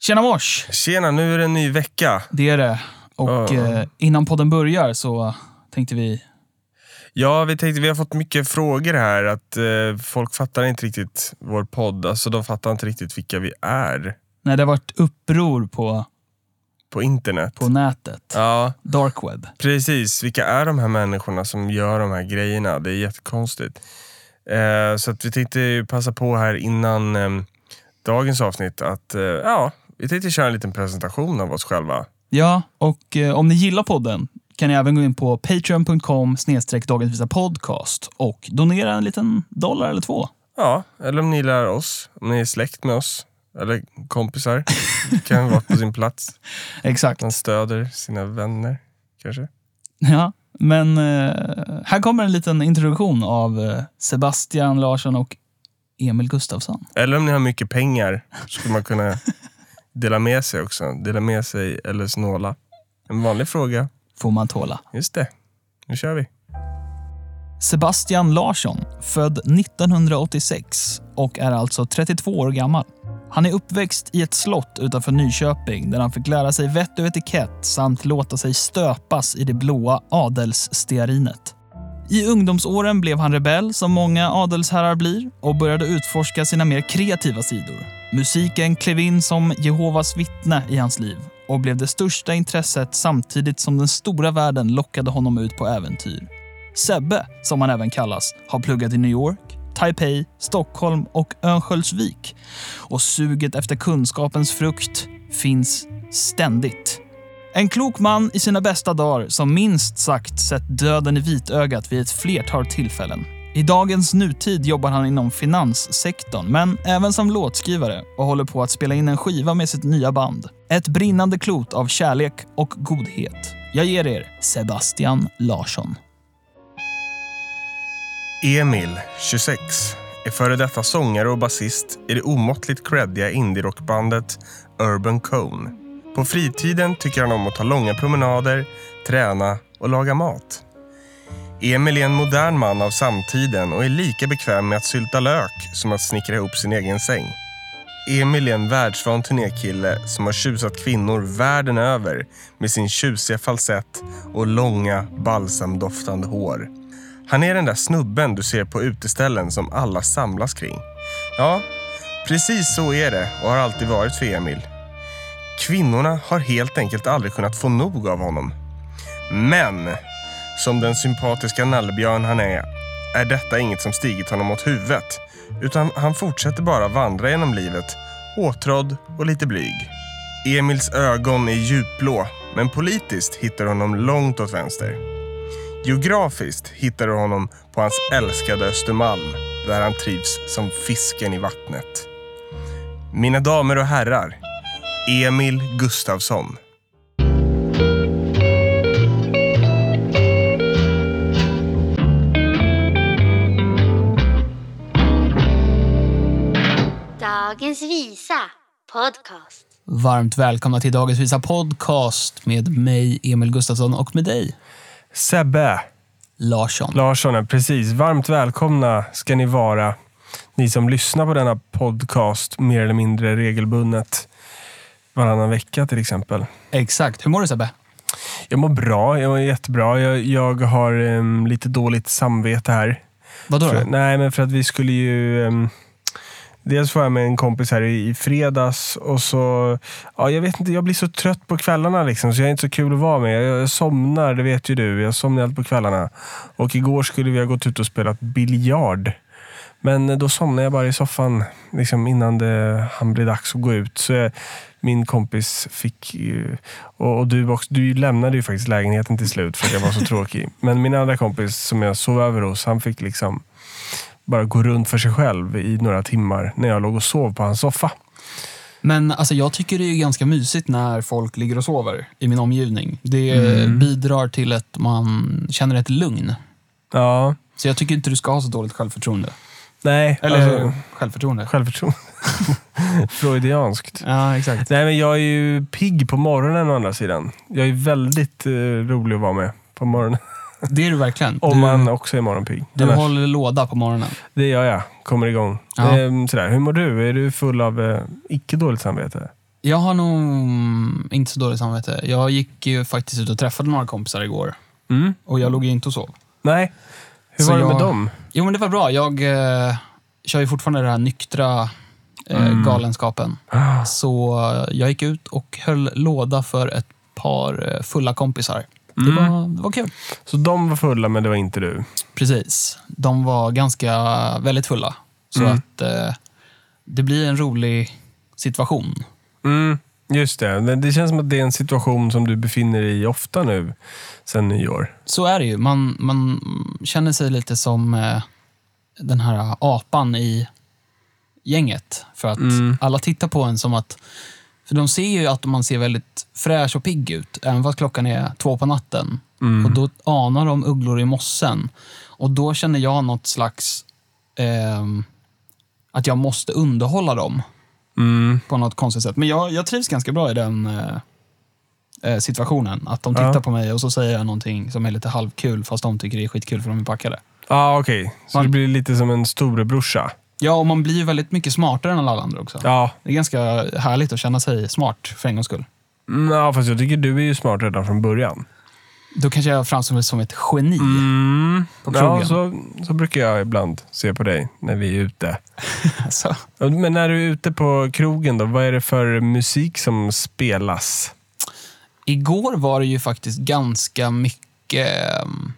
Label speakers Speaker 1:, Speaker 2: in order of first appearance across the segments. Speaker 1: Tjena mors!
Speaker 2: Tjena, nu är det en ny vecka.
Speaker 1: Det är det. Och
Speaker 2: Ja.
Speaker 1: eh, innan podden börjar så tänkte vi...
Speaker 2: Ja, vi tänkte, vi har fått mycket frågor här. Att eh, Folk fattar inte riktigt vår podd. Alltså, de fattar inte riktigt vilka vi är
Speaker 1: När det har varit uppror på,
Speaker 2: på internet.
Speaker 1: på nätet,
Speaker 2: Ja,
Speaker 1: dark web.
Speaker 2: precis. Vilka är de här människorna som gör de här grejerna? Det är jättekonstigt. Eh, så att vi tänkte ju passa på här innan eh, dagens avsnitt att eh, ja, vi tänkte köra en liten presentation av oss själva.
Speaker 1: Ja, och eh, om ni gillar podden kan ni även gå in på patreon.com snedstreck dagens visa podcast och donera en liten dollar eller två.
Speaker 2: Ja, eller om ni gillar oss, om ni är släkt med oss eller kompisar. kan vara på sin plats.
Speaker 1: Exakt.
Speaker 2: Man stöder sina vänner, kanske.
Speaker 1: Ja, men eh, här kommer en liten introduktion av eh, Sebastian Larsson och Emil Gustafsson.
Speaker 2: Eller om ni har mycket pengar skulle man kunna dela med sig också. Dela med sig eller snåla. En vanlig fråga.
Speaker 1: Får man tåla.
Speaker 2: Just det. Nu kör vi.
Speaker 1: Sebastian Larsson, född 1986 och är alltså 32 år gammal. Han är uppväxt i ett slott utanför Nyköping där han fick lära sig vett och etikett samt låta sig stöpas i det blåa adelsstearinet. I ungdomsåren blev han rebell, som många adelsherrar blir, och började utforska sina mer kreativa sidor. Musiken klev in som Jehovas vittne i hans liv och blev det största intresset samtidigt som den stora världen lockade honom ut på äventyr. Sebbe, som han även kallas, har pluggat i New York, Taipei, Stockholm och Örnsköldsvik. Och suget efter kunskapens frukt finns ständigt. En klok man i sina bästa dagar som minst sagt sett döden i vitögat vid ett flertal tillfällen. I dagens nutid jobbar han inom finanssektorn, men även som låtskrivare och håller på att spela in en skiva med sitt nya band. Ett brinnande klot av kärlek och godhet. Jag ger er Sebastian Larsson.
Speaker 2: Emil, 26, är före detta sångare och basist i det omåttligt creddiga indierockbandet Urban Cone. På fritiden tycker han om att ta långa promenader, träna och laga mat. Emil är en modern man av samtiden och är lika bekväm med att sylta lök som att snickra ihop sin egen säng. Emil är en världsvan turnékille som har tjusat kvinnor världen över med sin tjusiga falsett och långa balsamdoftande hår. Han är den där snubben du ser på uteställen som alla samlas kring. Ja, precis så är det och har alltid varit för Emil. Kvinnorna har helt enkelt aldrig kunnat få nog av honom. Men, som den sympatiska nallebjörn han är, är detta inget som stigit honom åt huvudet. Utan han fortsätter bara vandra genom livet, åtrådd och lite blyg. Emils ögon är djupblå, men politiskt hittar honom långt åt vänster. Geografiskt hittar du honom på hans älskade Östermalm där han trivs som fisken i vattnet. Mina damer och herrar, Emil Gustafsson.
Speaker 3: Dagens visa podcast.
Speaker 1: Varmt välkomna till dagens visa podcast med mig, Emil Gustafsson, och med dig,
Speaker 2: Sebbe
Speaker 1: Larsson.
Speaker 2: Larsson, är precis. Varmt välkomna ska ni vara, ni som lyssnar på denna podcast mer eller mindre regelbundet. Varannan vecka till exempel.
Speaker 1: Exakt. Hur mår du Sebbe?
Speaker 2: Jag mår bra, jag mår jättebra. Jag, jag har em, lite dåligt samvete här.
Speaker 1: Vadå
Speaker 2: För,
Speaker 1: då?
Speaker 2: nej, men för att vi skulle ju... ehm, dels var jag med en kompis här i, i fredags och så... Ja, jag vet inte, jag blir så trött på kvällarna liksom, så jag är inte så kul att vara med. Jag, jag somnar, det vet ju du. Jag somnar alltid på kvällarna. Och igår skulle vi ha gått ut och spelat biljard. Men eh, då somnade jag bara i soffan liksom innan det han blev dags att gå ut. Så jag, min kompis fick ju... Och, och du, också, du lämnade ju faktiskt lägenheten till slut för att jag var så tråkig. Men min andra kompis som jag sov över hos, han fick liksom bara gå runt för sig själv i några timmar när jag låg och sov på hans soffa.
Speaker 4: Men alltså, jag tycker det är ganska mysigt när folk ligger och sover i min omgivning. Det
Speaker 2: Mm.
Speaker 4: bidrar till att man känner ett lugn.
Speaker 2: Ja,
Speaker 4: Så jag tycker inte du ska ha så dåligt självförtroende.
Speaker 2: nej.
Speaker 4: Eller
Speaker 2: alltså,
Speaker 4: självförtroende.
Speaker 2: självförtroende. Freudianskt.
Speaker 4: Ja, exakt.
Speaker 2: Nej, men jag är ju pigg på morgonen å andra sidan. Jag är väldigt eh, rolig att vara med på morgonen.
Speaker 4: Det är du verkligen.
Speaker 2: Om
Speaker 4: Du,
Speaker 2: man också är morgonpigg.
Speaker 4: du
Speaker 2: Annars-
Speaker 4: håller låda på morgonen.
Speaker 2: Det gör jag. Kommer igång.
Speaker 4: Ja.
Speaker 2: Ehm, sådär. Hur mår du? Är du full av eh, icke dåligt samvete?
Speaker 1: Jag har nog inte så dåligt samvete. Jag gick ju faktiskt ut och träffade några kompisar igår.
Speaker 2: Mm.
Speaker 1: Och jag låg ju inte och sov.
Speaker 2: Nej. Hur
Speaker 1: Så
Speaker 2: var det med
Speaker 1: jag-
Speaker 2: dem?
Speaker 1: Jo, men det var bra. Jag eh, kör ju fortfarande den här nyktra eh, galenskapen. Så eh, jag gick ut och höll låda för ett par eh, fulla kompisar. Det, var, det var kul.
Speaker 2: Så de var fulla, men det var inte du?
Speaker 1: Precis. De var ganska, väldigt fulla. Så att eh, det blir en rolig situation.
Speaker 2: Mm. Just det. Men Det känns som att det är en situation som du befinner dig i ofta nu, sen nyår.
Speaker 1: Så är det ju. Man, man känner sig lite som eh, den här apan i gänget. För att alla tittar på en som att... För de ser ju att man ser väldigt fräsch och pigg ut, även fast klockan är två på natten. Och då anar de ugglor i mossen. Och då känner jag något slags... ehm, att jag måste underhålla dem
Speaker 2: Mm.
Speaker 1: på något konstigt sätt. Men jag, jag trivs ganska bra i den eh, eh, situationen. Att de tittar på mig och så säger jag någonting som är lite halvkul fast de tycker det är skitkul för de är packade.
Speaker 2: Ja, ah, okej. Så det blir lite som en storebrorsa.
Speaker 1: Ja, och man blir ju väldigt mycket smartare än alla andra också.
Speaker 2: Ja,
Speaker 1: Det är ganska härligt att känna sig smart för en gångs skull.
Speaker 2: mm, ja, fast jag tycker du är ju smart redan från början.
Speaker 1: Då kanske jag framstår som ett geni.
Speaker 2: Mm.
Speaker 1: På
Speaker 2: Ja,
Speaker 1: krogen.
Speaker 2: så, så brukar jag ibland se på dig när vi är ute.
Speaker 1: Alltså.
Speaker 2: Men när du är ute på krogen, då, vad är det för musik som spelas?
Speaker 1: Igår var det ju faktiskt ganska mycket ehm,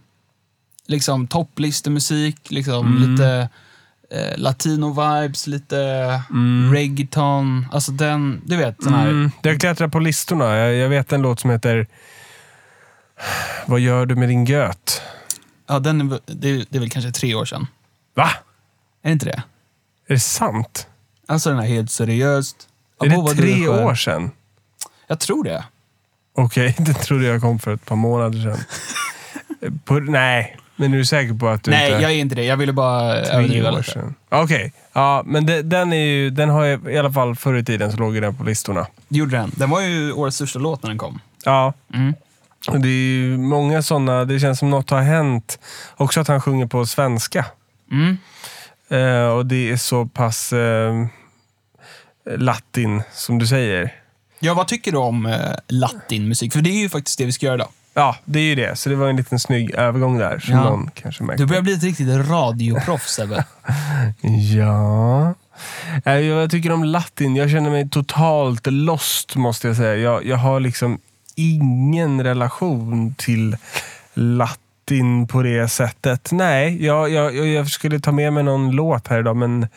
Speaker 1: liksom topplistemusik, liksom
Speaker 2: Mm.
Speaker 1: lite eh, latino-vibes, lite reggaeton. Alltså den, du vet, den här...
Speaker 2: Mm. Jag klättrar på listorna. Jag, jag vet en låt som heter Vad gör du med din göt?
Speaker 1: Ja, den är, väl- det, är, det är väl kanske tre år sedan.
Speaker 2: Va?
Speaker 1: Är det inte det?
Speaker 2: Är det sant?
Speaker 1: Alltså den här helt seriöst.
Speaker 2: Är
Speaker 1: Abo,
Speaker 2: det
Speaker 1: vad du
Speaker 2: tre
Speaker 1: skön.
Speaker 2: år sedan?
Speaker 1: Jag tror det.
Speaker 2: Okej, det trodde jag kom för ett par månader sedan. på, nej, men är du säker på att du
Speaker 1: Nej,
Speaker 2: inte...
Speaker 1: jag är inte det. Jag ville bara
Speaker 2: tre
Speaker 1: överdriva
Speaker 2: år
Speaker 1: lite.
Speaker 2: sedan. Okej, ja, men de, den, är ju, den har jag i alla fall förr i tiden så låg ju den på listorna.
Speaker 1: Det gjorde den. Den var ju årets största låt när den kom.
Speaker 2: Ja,
Speaker 1: Mm.
Speaker 2: och det är ju många sådana. Det känns som något har hänt. Också att han sjunger på svenska.
Speaker 1: Mm.
Speaker 2: Eh, och det är så pass eh, latin som du säger.
Speaker 1: Ja, vad tycker du om eh, latinmusik? För det är ju faktiskt det vi ska göra idag.
Speaker 2: Ja, det är ju det. Så det var en liten snygg övergång där som
Speaker 1: Ja.
Speaker 2: någon kanske märkte.
Speaker 1: Du börjar bli ett riktigt radioproffs, Sebbe.
Speaker 2: Ja. Eh, Jag tycker om latin. Jag känner mig totalt lost måste jag säga. Jag, jag har liksom ingen relation till latin på det sättet. Nej, jag, jag, jag- jag skulle ta med mig någon låt här idag men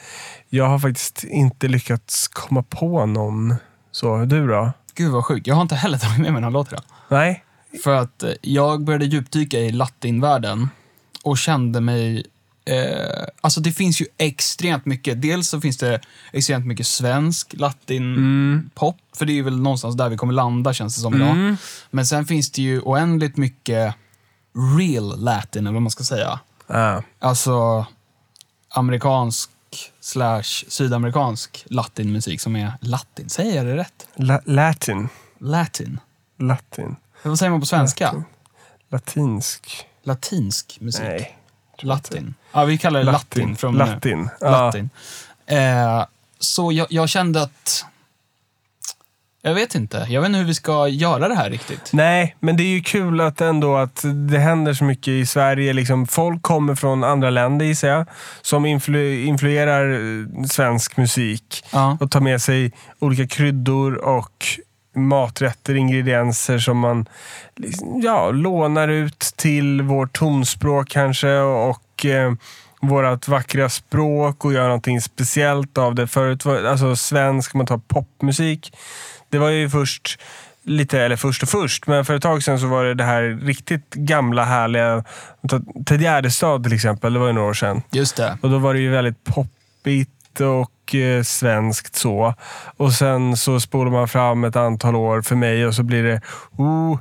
Speaker 2: jag har faktiskt inte lyckats komma på någon. Så, du då?
Speaker 1: Gud vad sjukt. Jag har inte heller tagit med mig någon låt idag.
Speaker 2: Nej?
Speaker 1: För att eh, jag började djupdyka i latinvärlden och kände mig... Eh, alltså det finns ju extremt mycket. Dels så finns det extremt mycket svensk latinpop, för det är ju väl någonstans där vi kommer landa känns det som idag. Men sen finns det ju oändligt mycket real latin, eller vad man ska säga.
Speaker 2: Ah.
Speaker 1: Alltså amerikansk slash sydamerikansk latinmusik som är latin. Säger jag det rätt?
Speaker 2: La- latin.
Speaker 1: Latin.
Speaker 2: Latin.
Speaker 1: Vad säger man på svenska?
Speaker 2: Latinsk.
Speaker 1: Latinsk musik.
Speaker 2: Nej.
Speaker 1: Latin. Ja, vi kallar det latin, från
Speaker 2: Latin. Ja.
Speaker 1: latin. Eh, så jag, jag kände att... Jag vet inte. Jag vet inte hur vi ska göra det här riktigt.
Speaker 2: Nej, men det är ju kul att ändå att det händer så mycket i Sverige. Liksom, folk kommer från andra länder gissar jag, som influ- influerar eh, svensk musik
Speaker 1: Ja.
Speaker 2: och tar med sig olika kryddor och maträtter, ingredienser som man liksom, ja, lånar ut till vårt tonspråk kanske och eh, vårt vackra språk och gör någonting speciellt av det. Förut var alltså svensk, om man tar popmusik. Det var ju först lite, eller först och först, men för ett tag sedan så var det det här riktigt gamla härliga. ta Ted Gärdestad till exempel, det var ju några år sedan.
Speaker 1: Just det.
Speaker 2: Och då var det ju väldigt poppigt och eh, svenskt så. Och sen så spolar man fram ett antal år för mig och så blir det oh,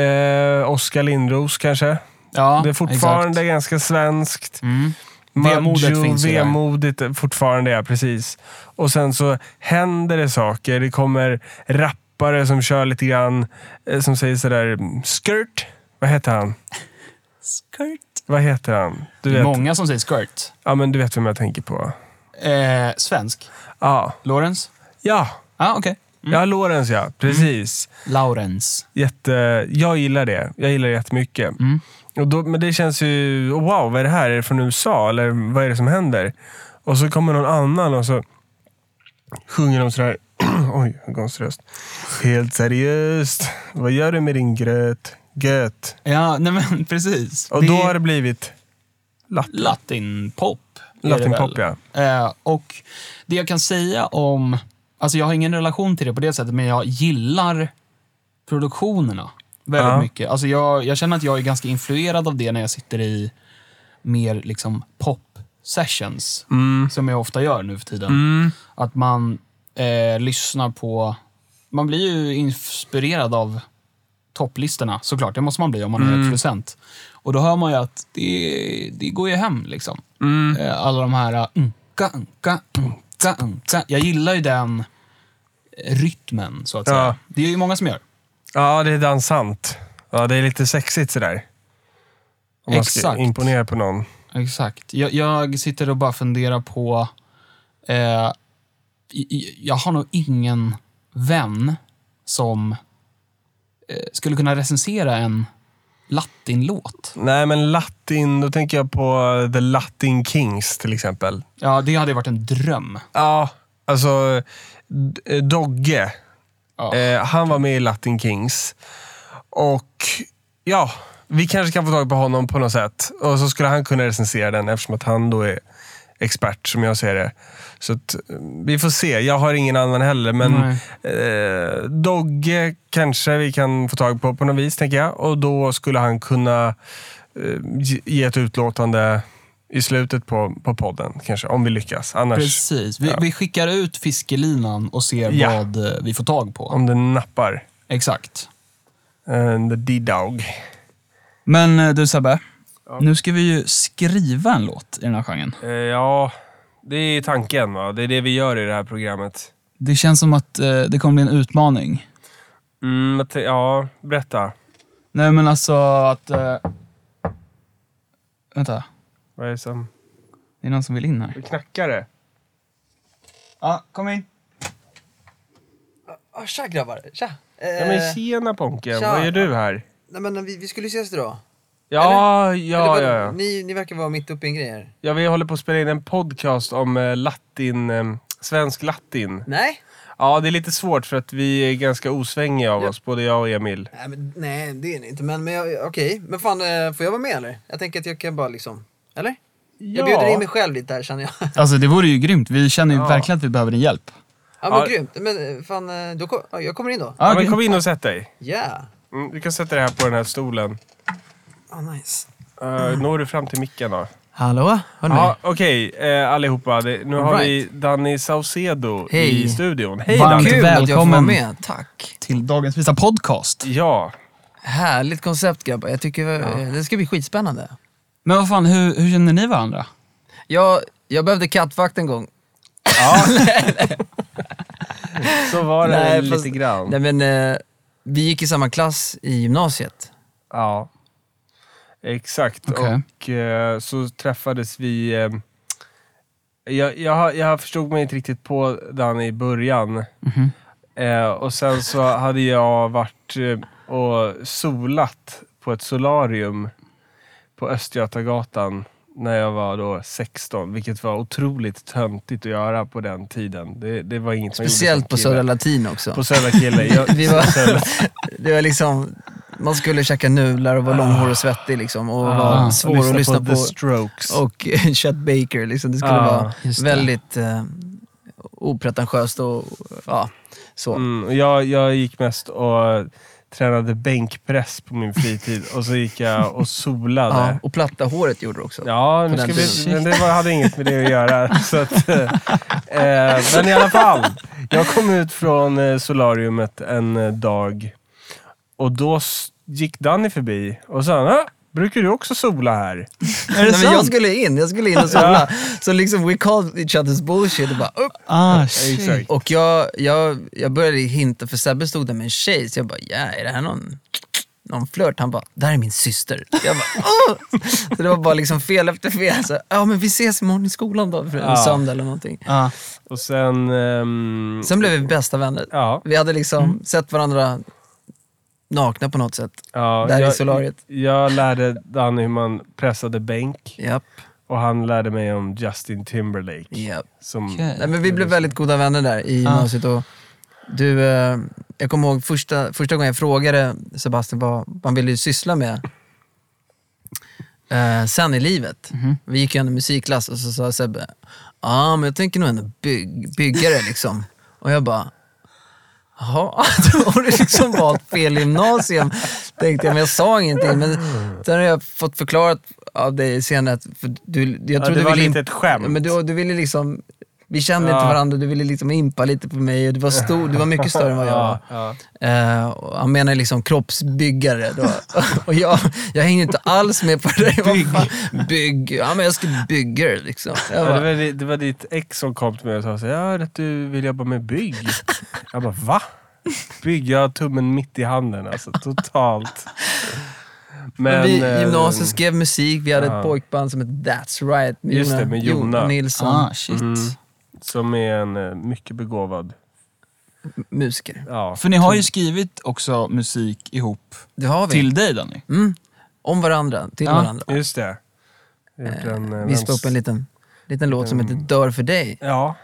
Speaker 2: eh, Oskar Lindros kanske.
Speaker 1: Ja,
Speaker 2: det är fortfarande
Speaker 1: Exakt.
Speaker 2: ganska svenskt.
Speaker 1: Mm.
Speaker 2: Maggio,
Speaker 1: Vemodet finns ju där.
Speaker 2: Vemodigt fortfarande, ja precis. Och sen så händer det saker. Det kommer rappare som kör lite grann, eh, som säger sådär skirt. Vad heter han?
Speaker 1: Skirt.
Speaker 2: Vad heter han? Du
Speaker 1: Det är
Speaker 2: vet,
Speaker 1: många som säger skirt.
Speaker 2: ja, men du vet vem jag tänker på.
Speaker 1: Eh, svensk.
Speaker 2: Ja,
Speaker 1: Lorentz?
Speaker 2: ja
Speaker 1: Ja, ah, okej.
Speaker 4: Mm.
Speaker 2: Ja, Lorentz ja. Precis.
Speaker 4: Laurens.
Speaker 2: Jätte, jag gillar det. Jag gillar det jättemycket.
Speaker 4: Mm.
Speaker 2: Och då, men det känns ju, oh, wow, vad är det här? Är det från USA? Eller vad är det som händer? Och så kommer någon annan och så sjunger de sådär. Oj, Gons röst. Helt seriöst. Vad gör du med din gröt? Göt.
Speaker 4: Ja, nej men precis.
Speaker 2: Och
Speaker 4: Det
Speaker 2: då
Speaker 4: är
Speaker 2: har det blivit
Speaker 4: latinpop. är det
Speaker 2: latinpop,
Speaker 4: väl.
Speaker 2: ja.
Speaker 4: Eh, och det jag kan säga om... Alltså jag har ingen relation till det på det sättet, men jag gillar produktionerna väldigt
Speaker 2: Ja.
Speaker 4: mycket. Alltså jag, jag känner att jag är ganska influerad av det när jag sitter i mer liksom pop-sessions,
Speaker 2: Mm.
Speaker 4: som jag ofta gör nu för tiden. Att man eh, lyssnar på... Man blir ju inspirerad av topplistorna såklart. Det måste man bli om man är producent. Och då hör man ju att det, det går ju hem liksom. Eh, Alla de här eh, unka, unka, unka, unka. Jag gillar ju den rytmen så att
Speaker 2: Ja.
Speaker 4: säga. Det är ju många som gör.
Speaker 2: Ja, det är dansant. Ja, det är lite sexigt sådär. Om man ska
Speaker 4: Exakt.
Speaker 2: imponera på någon.
Speaker 4: Exakt. Jag, jag sitter och bara funderar på... Eh, i- i- jag har nog ingen vän som eh, skulle kunna recensera en latinlåt.
Speaker 2: Nej, men latin, då tänker jag på eh, The Latin Kings till exempel.
Speaker 4: Ja, det hade ju varit en dröm.
Speaker 2: Ja, alltså D- eh, Dogge.
Speaker 4: Ja.
Speaker 2: Eh, han var med i Latin Kings. Och ja, vi kanske kan få tag på honom på något sätt. Och så skulle han kunna recensera den eftersom att han då är expert som jag ser det. Så att, eh, vi får se. Jag har ingen annan heller, men eh, Dogge kanske vi kan få tag på på något vis, tänker jag. Och då skulle han kunna eh, ge- ge ett utlåtande i slutet på, på podden, kanske, om vi lyckas. Annars...
Speaker 4: Precis. Vi, vi skickar ut fiskelinan och ser
Speaker 2: Ja.
Speaker 4: vad eh, vi får tag på.
Speaker 2: Om den nappar.
Speaker 4: Exakt.
Speaker 2: And the D-Dog.
Speaker 1: Men eh, du Sebbe, nu ska vi ju skriva en låt i den här genren.
Speaker 2: Eh, ja, det är tanken. Va? Det är det vi gör i det här programmet.
Speaker 1: Det känns som att eh, det kommer bli en utmaning.
Speaker 2: Mm, att- ja, berätta.
Speaker 1: Nej men alltså att... Eh... Vänta,
Speaker 2: Vad är det som...
Speaker 1: det är någon som vill in här.
Speaker 2: Det knackar det.
Speaker 1: Ja, kom in.
Speaker 5: Ah, tja grabbar, tja! Eh,
Speaker 2: Ja, men tjena Ponken,
Speaker 5: tja.
Speaker 2: vad gör du här?
Speaker 5: nej, men vi, vi skulle ju ses idag.
Speaker 2: Ja, ja,
Speaker 5: Eller vadå?
Speaker 2: ja, ja.
Speaker 5: Ni, ni verkar vara mitt uppe i en grej här.
Speaker 2: ja. Vi håller på att spela in en podcast om eh, latin, eh, svensk latin.
Speaker 5: Nej?
Speaker 2: Ja, det är lite svårt för att vi är ganska osvängiga av
Speaker 5: Ja.
Speaker 2: oss, både jag och Emil.
Speaker 5: Nej, men, nej det är ni inte. Men, men jag- okej, men fan eh, får jag vara med eller? Jag tänker att jag kan bara liksom, eller? Jag bjuder in mig själv lite här känner jag.
Speaker 1: Alltså det vore ju grymt. Vi känner ju
Speaker 2: Ja.
Speaker 1: verkligen att vi behöver din hjälp.
Speaker 5: Ja men
Speaker 2: Ja.
Speaker 5: grymt, men eh, fan eh, då, kom- ja, jag kommer in då.
Speaker 2: Ja, men
Speaker 1: grymt.
Speaker 2: kom in och sätt dig.
Speaker 5: Yeah!
Speaker 2: Mm, du kan sätta dig här på den här stolen.
Speaker 5: Ah nice.
Speaker 2: Eh,
Speaker 5: Mm.
Speaker 2: Når du fram till micken då?
Speaker 5: Hallå, hör ni
Speaker 2: Ja,
Speaker 5: mig?
Speaker 2: okej eh, allihopa. Det, nu har
Speaker 5: Alright.
Speaker 2: vi Danny Saucedo
Speaker 5: Hej.
Speaker 2: i studion. Hej
Speaker 1: Varmt
Speaker 2: Danny!
Speaker 5: Kul att jag får vara
Speaker 1: Välkommen.
Speaker 5: med, tack.
Speaker 1: Till dagens visa podcast.
Speaker 2: Ja,
Speaker 5: Härligt koncept grabbar, jag tycker eh, det ska bli skitspännande.
Speaker 1: Men vad fan, hur, hur känner ni varandra?
Speaker 5: Jag, jag behövde kattvakt en gång.
Speaker 2: så var det
Speaker 5: Nej,
Speaker 2: lite
Speaker 5: fast-
Speaker 2: grann.
Speaker 5: Nej men, eh, vi gick i samma klass i gymnasiet.
Speaker 2: Ja, exakt.
Speaker 1: Okej.
Speaker 2: Och eh, så träffades vi... Eh, jag, jag, har- jag förstod mig inte riktigt på Danny i början.
Speaker 5: Mhm.
Speaker 2: Eh, och sen så hade jag varit eh, och solat på ett solarium på Östgötagatan när jag var då 16, vilket var otroligt töntigt att göra på den tiden. Det, det var inget man gjorde som
Speaker 5: Speciellt på
Speaker 2: kille.
Speaker 5: Södra Latin också.
Speaker 2: På Södra Kille. Jag,
Speaker 5: Vi var, det var liksom, man skulle käka nudlar och vara långhårig och svettig liksom
Speaker 2: Ah.
Speaker 5: och vara svår att lyssna på.
Speaker 2: The Strokes.
Speaker 5: Och Chet Baker liksom, det skulle
Speaker 2: Ja,
Speaker 5: vara
Speaker 1: just det.
Speaker 5: väldigt eh, opretentiöst och ja, så.
Speaker 2: Mm, och jag, jag gick mest och tränade bänkpress på min fritid och så gick jag och
Speaker 5: Ja,
Speaker 2: solade.
Speaker 5: och platta håret gjorde du också.
Speaker 2: Ja,
Speaker 5: På
Speaker 2: nu
Speaker 5: den
Speaker 2: ska vi,
Speaker 5: tiden.
Speaker 2: men det var, hade inget med det att göra. Så att, eh, eh, men i alla fall, jag kom ut från eh, solariumet en eh, dag och då s- gick Danny förbi och sa "Ah, Brukar du också sola här?
Speaker 1: Är det
Speaker 5: Nej, men jag
Speaker 1: sant?
Speaker 5: skulle in, jag skulle in och sola. Så liksom we called each other's bullshit och bara upp.
Speaker 1: Ah,
Speaker 5: Mm.
Speaker 1: shit.
Speaker 2: Exakt.
Speaker 5: Och jag, jag, jag började hinta, för Sebbe stod där med en tjej, så jag bara, ja, är det här någon någon flört. Han bara, där är min syster. Jag bara, Åh! Så det var bara liksom fel efter fel. Så, ja men vi ses imorgon i skolan då, för en
Speaker 2: Ja.
Speaker 5: söndag eller någonting.
Speaker 1: Ah,
Speaker 6: Ja.
Speaker 2: Och sen... ehm,
Speaker 5: Sen blev vi bästa vänner.
Speaker 2: ja,
Speaker 5: Vi hade liksom
Speaker 2: Mm.
Speaker 5: sett varandra nakna på något sätt.
Speaker 2: ja,
Speaker 5: Där i
Speaker 2: jag,
Speaker 5: solariet.
Speaker 2: jag lärde Danny hur man pressade bänk
Speaker 5: Japp,
Speaker 2: och han lärde mig om Justin Timberlake.
Speaker 5: japp.
Speaker 2: Som,
Speaker 6: Okej.
Speaker 5: Nej, men vi blev väldigt goda vänner där i
Speaker 6: Ja.
Speaker 5: gymnasiet. Och du, eh, jag kommer ihåg första, första gången jag frågade Sebastian vad vad han ville syssla med eh, sen i livet.
Speaker 6: Mhm.
Speaker 5: Vi gick ju ändå musikklass och så sa Sebbe, ja men jag tänker nog ändå byg- bygga det liksom. Och jag bara, Jaha, då har du liksom valt fel gymnasium, tänkte jag. Men jag sa ingenting. Men sen har jag fått förklarat av dig senare att för du, jag
Speaker 2: Ja,
Speaker 5: tror
Speaker 2: det
Speaker 5: du
Speaker 2: var
Speaker 5: ville
Speaker 2: lite ett skämt.
Speaker 5: Men du, du ville liksom, vi kände
Speaker 2: Ja.
Speaker 5: inte varandra, du ville liksom impa lite på mig och du var stor, du var mycket större än vad jag var.
Speaker 2: Ja, ja.
Speaker 5: Eh, och han menar liksom kroppsbyggare då. och jag, jag hänger inte alls med på det där. Vad fan, Bygg. Ja men jag ska bygga det liksom. Jag
Speaker 2: Ja, det,
Speaker 5: bara,
Speaker 2: var, di- det var ditt ex som kom till mig och sa så här, "Jag hörde att du vill jobba med bygg. Jag bara, va? Bygg? Jag har tummen mitt i handen alltså, totalt. Men,
Speaker 5: vi,
Speaker 2: eh,
Speaker 5: gymnasiet skrev musik, vi hade
Speaker 2: ja.
Speaker 5: ett pojkband som hette That's Right med
Speaker 2: Just det,
Speaker 5: Jonna-
Speaker 2: med Jonna.
Speaker 5: Nilsson,
Speaker 6: Ah, shit.
Speaker 2: Mm. Som är en eh, mycket begåvad...
Speaker 5: musiker.
Speaker 2: Ja.
Speaker 1: För ni har ju skrivit också musik ihop
Speaker 5: Det har vi.
Speaker 1: till dig Danny.
Speaker 5: Mm. Om varandra, till
Speaker 6: Ja.
Speaker 5: varandra.
Speaker 2: Just det. Jag har gjort en, eh,
Speaker 5: Vi spelade
Speaker 2: vänst-
Speaker 5: upp en liten, liten låt som
Speaker 2: Mm.
Speaker 5: heter Dör för dig.
Speaker 2: Ja.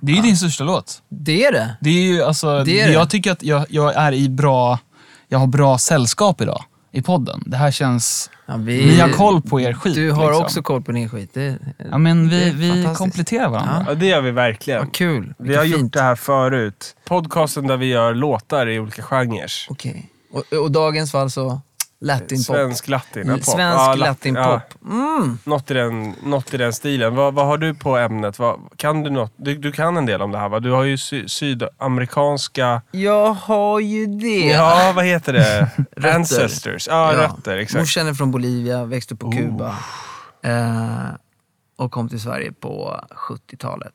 Speaker 1: Det är ju din största låt.
Speaker 5: Det är det.
Speaker 1: Det är ju alltså,
Speaker 5: Det är det.
Speaker 1: jag tycker att jag, jag är i bra, jag har bra sällskap idag i podden. Det här känns,
Speaker 5: Ja, vi,
Speaker 1: ni har koll på er skit.
Speaker 5: Du har
Speaker 1: liksom.
Speaker 5: också koll på din skit. Det,
Speaker 1: Ja men
Speaker 5: det
Speaker 1: vi,
Speaker 5: är
Speaker 1: vi
Speaker 5: fantastiskt.
Speaker 1: kompletterar varandra.
Speaker 2: ja, det gör vi verkligen.
Speaker 5: Vad kul.
Speaker 2: Vi har gjort det här förut. Podcasten där vi gör låtar i olika genrer.
Speaker 5: Okej. Och, och dagens fall så latinpop.
Speaker 2: Svensk latinpop.
Speaker 5: Svensk
Speaker 2: Ja, lat-
Speaker 5: latinpop. Mm.
Speaker 2: Något i den, något i den stilen. Vad, vad har du på ämnet? Vad, kan du, något? Du, du kan en del om det här va? Du har ju sy, sydamerikanska...
Speaker 5: Jag har ju det.
Speaker 2: Ja, vad heter det?
Speaker 5: Rötter.
Speaker 2: Ancestors. Ja, rötter. Exakt.
Speaker 5: Morsan är från Bolivia, växte upp på Kuba eh, och kom till Sverige på 70-talet.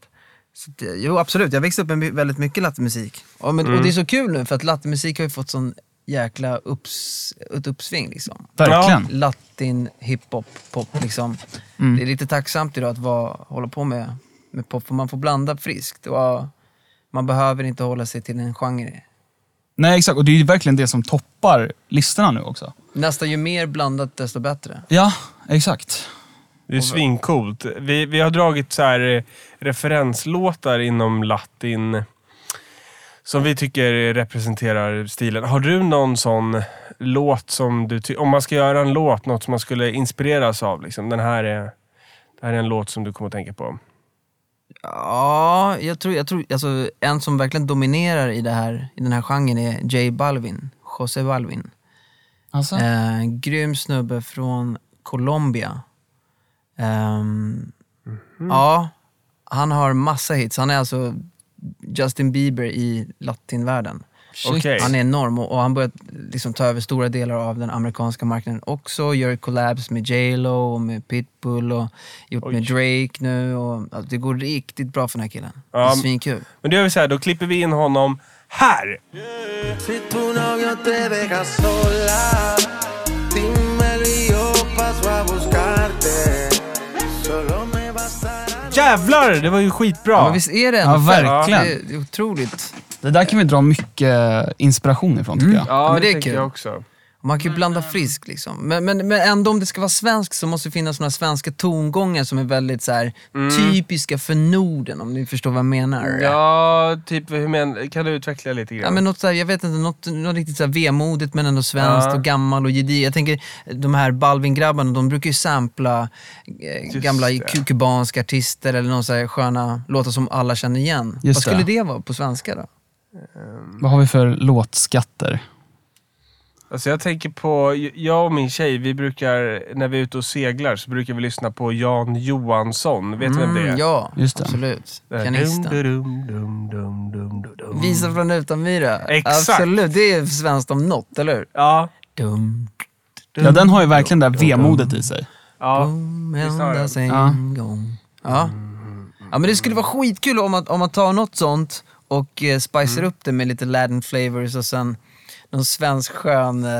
Speaker 5: Så det, jo, absolut. Jag växte upp med my- väldigt mycket latinmusik. Ja, men,
Speaker 2: Mm.
Speaker 5: Och det är så kul nu, för att latinmusik har ju fått sån jäkla upps, ett uppsving. Liksom.
Speaker 1: Verkligen.
Speaker 5: Latin, hiphop, pop. Liksom. Det är lite tacksamt idag att vara, hålla på med, med pop, för man får blanda friskt. Och, ja, man behöver inte hålla sig till en genre.
Speaker 1: Nej exakt, och det är ju verkligen det som toppar listorna nu också.
Speaker 5: Nästan ju mer blandat, desto bättre.
Speaker 1: Ja, exakt.
Speaker 2: Det är svincoolt. Vi, vi har dragit så här eh, referenslåtar inom latin som vi tycker representerar stilen. Har du någon sån låt som du tycker... Om man ska göra en låt, något som man skulle inspireras av. Liksom. Den här är, det här är en låt som du kommer att tänka på.
Speaker 5: Ja, jag tror, jag tror alltså, en som verkligen dominerar i, det här, i den här genren är J Balvin, José Balvin.
Speaker 6: Alltså,
Speaker 5: Eh, en grym snubbe från Colombia. Ehm, Ja, han har massa hits. Han är alltså Justin Bieber i latinvärlden.
Speaker 6: shit.
Speaker 2: Okej.
Speaker 5: Han är enorm och, och han börjar liksom ta över stora delar av den amerikanska marknaden också. Gör collabs med J Lo och med Pitbull och gjort med Drake nu. Och, ja, det går riktigt bra för den här killen. Det
Speaker 2: Ja,
Speaker 5: är
Speaker 2: men-
Speaker 5: svinkul.
Speaker 2: Men då gör vi så här, då klipper vi in honom här.
Speaker 7: Si tu novio te deja sola, dímelo y yo paso a buscarte. Solo me bastará.
Speaker 2: Jävlar, det var ju
Speaker 5: Men
Speaker 2: skitbra.
Speaker 5: visst är det
Speaker 1: Ja,
Speaker 5: ändå fett?
Speaker 1: verkligen.
Speaker 5: Det, det är otroligt.
Speaker 1: Det där kan vi dra mycket inspiration ifrån tycker jag.
Speaker 2: Ja,
Speaker 5: men
Speaker 2: det,
Speaker 5: det är
Speaker 2: tänker
Speaker 5: kul.
Speaker 2: jag också.
Speaker 5: Man kan ju blanda frisk liksom. Men, men, men ändå om det ska vara svenskt så måste det finnas några svenska tongångar som är väldigt så här, typiska för Norden om ni förstår vad jag menar.
Speaker 2: Mm. Ja, typ hur men, Kan du utveckla lite grann?
Speaker 5: Ja, men något så här, jag vet inte, något, något riktigt så här vemodigt men ändå svenskt
Speaker 2: Ja.
Speaker 5: och gammal och gediget. Jag tänker de här Balvin-grabbarna, de brukar ju sampla eh,
Speaker 2: Just
Speaker 5: gamla
Speaker 2: det.
Speaker 5: ku- kubanska artister eller någon så här sköna låtar som alla känner igen.
Speaker 1: Just
Speaker 5: Vad skulle
Speaker 1: det.
Speaker 5: det. vara på svenska då?
Speaker 1: Vad har vi för låtskatter?
Speaker 2: Alltså jag tänker på, jag och min tjej, vi brukar, när vi är ute och seglar så brukar vi lyssna på Jan Johansson. Vet du vem det är?
Speaker 5: Mm, ja,
Speaker 1: Just det.
Speaker 5: absolut.
Speaker 2: Det här,
Speaker 5: Pianisten.
Speaker 2: dum, dum, dum, dum, dum, dum.
Speaker 5: Visa från Utanmyra.
Speaker 2: Exakt.
Speaker 5: Absolut, det är svenskt om något, eller hur?
Speaker 2: Ja.
Speaker 5: Dum,
Speaker 1: Ja, den har ju verkligen det där vemodet i sig.
Speaker 2: ja.
Speaker 5: dum,
Speaker 2: visst har jag.
Speaker 5: endast en
Speaker 1: Ja.
Speaker 5: gång. Ja. ja, men det skulle vara skitkul om man, om man tar något sånt och och eh, spicar upp det med lite Latin flavors och sen någon svensk skön eh,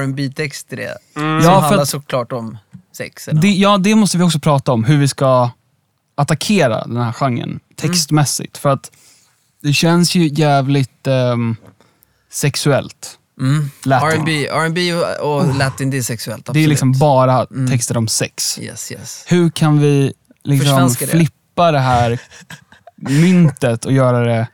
Speaker 5: rb text till det. Som
Speaker 1: Ja, för
Speaker 5: handlar
Speaker 1: att-
Speaker 5: såklart om sex. Eller?
Speaker 1: Det, ja, det måste vi också prata om. Hur vi ska attackera den här genren textmässigt. För att det känns ju jävligt ehm, sexuellt.
Speaker 5: Mm.
Speaker 1: Latin.
Speaker 5: R&B, R&B och, och latin, det är sexuellt. Absolut.
Speaker 1: Det är liksom bara texter om sex.
Speaker 5: Yes, yes.
Speaker 1: Hur kan vi liksom
Speaker 5: Försvenska det.
Speaker 1: flippa det här myntet och göra det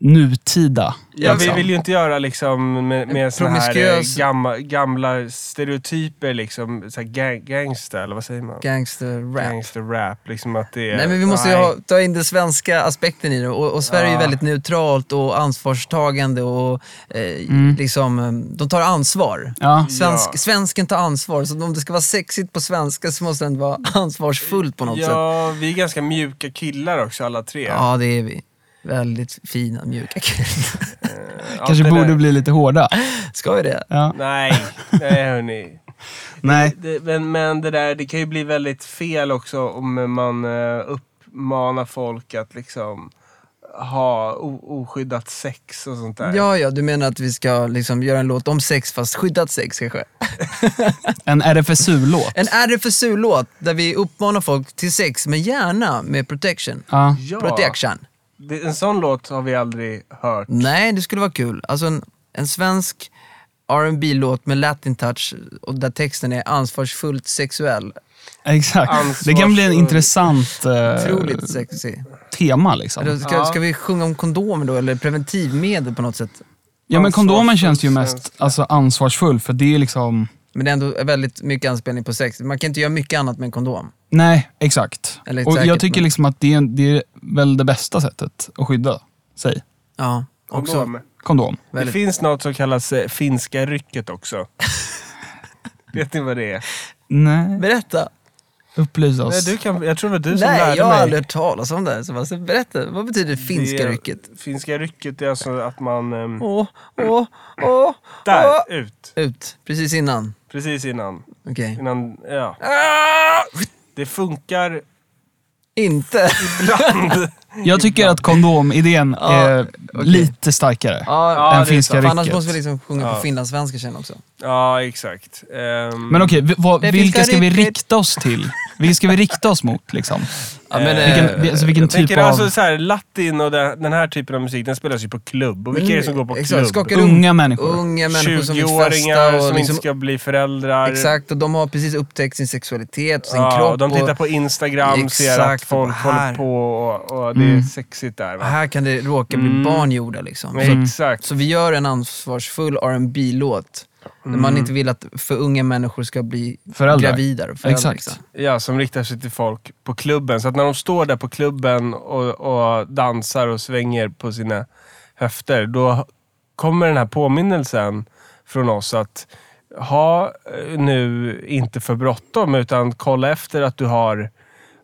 Speaker 1: nutida?
Speaker 2: Ja, vi
Speaker 1: liksom?
Speaker 2: vill ju inte göra liksom med, med såna här eh,
Speaker 5: promiskuös-
Speaker 2: gamla, gamla stereotyper, liksom så här gang, gangster, eller vad säger man?
Speaker 5: Gangster-rap.
Speaker 2: Gangster-rap. Liksom att det är,
Speaker 5: Nej, men vi måste ju
Speaker 2: Nej.
Speaker 5: ha, ta in den svenska aspekten i det. Och, och Sverige är ju
Speaker 2: Ja.
Speaker 5: väldigt neutralt och ansvarstagande. Och, eh, liksom, eh, de tar ansvar.
Speaker 1: Ja.
Speaker 5: Svensk,
Speaker 2: Mm. Ja.
Speaker 5: Svensken tar ansvar, så om det ska vara sexigt på svenska så måste det ändå vara ansvarsfullt på något sätt.
Speaker 2: Ja, vi är ganska mjuka killar också alla tre.
Speaker 5: Ja, det är vi. Väldigt fina, mjuka killar.
Speaker 2: Allt
Speaker 1: Kanske
Speaker 2: det
Speaker 1: borde
Speaker 2: där-
Speaker 1: bli lite hårda.
Speaker 5: Ska vi det?
Speaker 1: Ja.
Speaker 2: Nej, nej hörni.
Speaker 1: Nej.
Speaker 2: Det, men, men det där, det kan ju bli väldigt fel också om man eh, uppmanar folk att liksom ha o- oskyddat sex och sånt där.
Speaker 5: Ja, ja, du menar att vi ska liksom göra en låt om sex fast skyddat sex kanske?
Speaker 1: En RFSU-låt.
Speaker 5: En RFSU-låt där vi uppmanar folk till sex, men gärna med protection.
Speaker 1: Ja.
Speaker 2: Ja.
Speaker 5: Protection.
Speaker 2: Det, en sån låt har vi aldrig hört.
Speaker 5: Nej, det skulle vara kul. Alltså en, en svensk rb låt med latin touch och där texten är ansvarsfullt sexuell.
Speaker 1: Exakt. Det kan bli en
Speaker 2: Ansvarsfull.
Speaker 1: intressant eh,
Speaker 5: Otroligt sexy.
Speaker 1: tema. Liksom.
Speaker 5: Eller Ska, ska vi sjunga om kondomer då, eller preventivmedel på något sätt?
Speaker 1: Ja, men kondomen
Speaker 2: Ansvarsfull
Speaker 1: känns ju mest
Speaker 2: svenska.
Speaker 1: alltså, ansvarsfull, för det är liksom...
Speaker 5: Men det är ändå väldigt mycket anspelning på sex. Man kan inte göra mycket annat med en kondom.
Speaker 1: Nej, exakt.
Speaker 5: Eller
Speaker 1: Och jag
Speaker 5: säkert,
Speaker 1: tycker
Speaker 5: men-
Speaker 1: liksom att det är, det är väl det bästa sättet att skydda sig.
Speaker 5: Ja, också.
Speaker 2: Kondom.
Speaker 1: Kondom.
Speaker 2: Det
Speaker 5: Väldigt.
Speaker 2: finns något som kallas eh, finska rycket också. Vet ni vad det är?
Speaker 1: Nej.
Speaker 5: Berätta!
Speaker 1: Upplys
Speaker 2: Nej,
Speaker 1: oss.
Speaker 2: du kan, jag tror det var du som
Speaker 5: Nej,
Speaker 2: lärde
Speaker 5: jag har
Speaker 2: mig.
Speaker 5: aldrig hört talas om det här. Så alltså, berätta, vad betyder finska
Speaker 2: Det-
Speaker 5: rycket?
Speaker 2: Finska rycket är alltså att man... ehm,
Speaker 5: Åh, åh, åh,
Speaker 2: där!
Speaker 5: åh!
Speaker 2: Ut!
Speaker 5: Ut, precis innan.
Speaker 2: Precis innan.
Speaker 5: Okej. Ah!
Speaker 2: Innan... Ja. Det funkar
Speaker 5: Inte.
Speaker 2: ibland.
Speaker 1: Jag tycker att kondomidén är lite starkare
Speaker 5: Ja,
Speaker 1: än
Speaker 2: det är
Speaker 1: finska
Speaker 5: För annars
Speaker 1: rycket.
Speaker 5: måste vi liksom sjunga på
Speaker 2: Ja.
Speaker 5: finlandssvenska sen också.
Speaker 2: ja, exakt. Ehm,
Speaker 1: Men okej, vi- vad-
Speaker 5: Det
Speaker 1: vilka
Speaker 5: finska
Speaker 1: ska vi
Speaker 5: rycket.
Speaker 1: rikta oss till? Vilka ska vi rikta oss mot? Liksom?
Speaker 5: Eh, Ja,
Speaker 2: Eh,
Speaker 5: men,
Speaker 1: Vilken, vi- alltså, vilken
Speaker 2: jag
Speaker 1: typ
Speaker 2: tänker
Speaker 1: av
Speaker 2: alltså så här, latin och den, den här typen av musik, den spelas ju på klubb. Och vilka är det som går på
Speaker 5: Exakt,
Speaker 2: klubb?
Speaker 5: skakar
Speaker 1: unga människor?
Speaker 5: Unga människor som vill festa
Speaker 2: 20-åringar
Speaker 5: och
Speaker 2: som
Speaker 5: liksom,
Speaker 2: inte ska bli föräldrar.
Speaker 5: Exakt, och de har precis upptäckt sin sexualitet och sin
Speaker 2: ja,
Speaker 5: kropp.
Speaker 2: De tittar
Speaker 5: och,
Speaker 2: på Instagram, ser att
Speaker 5: Exakt,
Speaker 2: folk
Speaker 5: och här-
Speaker 2: håller
Speaker 5: Mm.
Speaker 2: på och, och det är sexigt där. Va?
Speaker 5: här kan det råka bli barn gjorda liksom.
Speaker 2: Men Mm. Exakt.
Speaker 5: Så vi gör en ansvarsfull rb låt När
Speaker 2: Mm.
Speaker 5: man inte vill att för unga människor ska bli
Speaker 1: Föräldrar.
Speaker 5: gravida. och Föräldrar,
Speaker 1: Exakt.
Speaker 5: Liksom.
Speaker 2: Ja, som riktar sig till folk på klubben. Så att när de står där på klubben och, och dansar och svänger på sina höfter, då kommer den här påminnelsen från oss att ha eh, nu inte för bråttom, utan kolla efter att du har,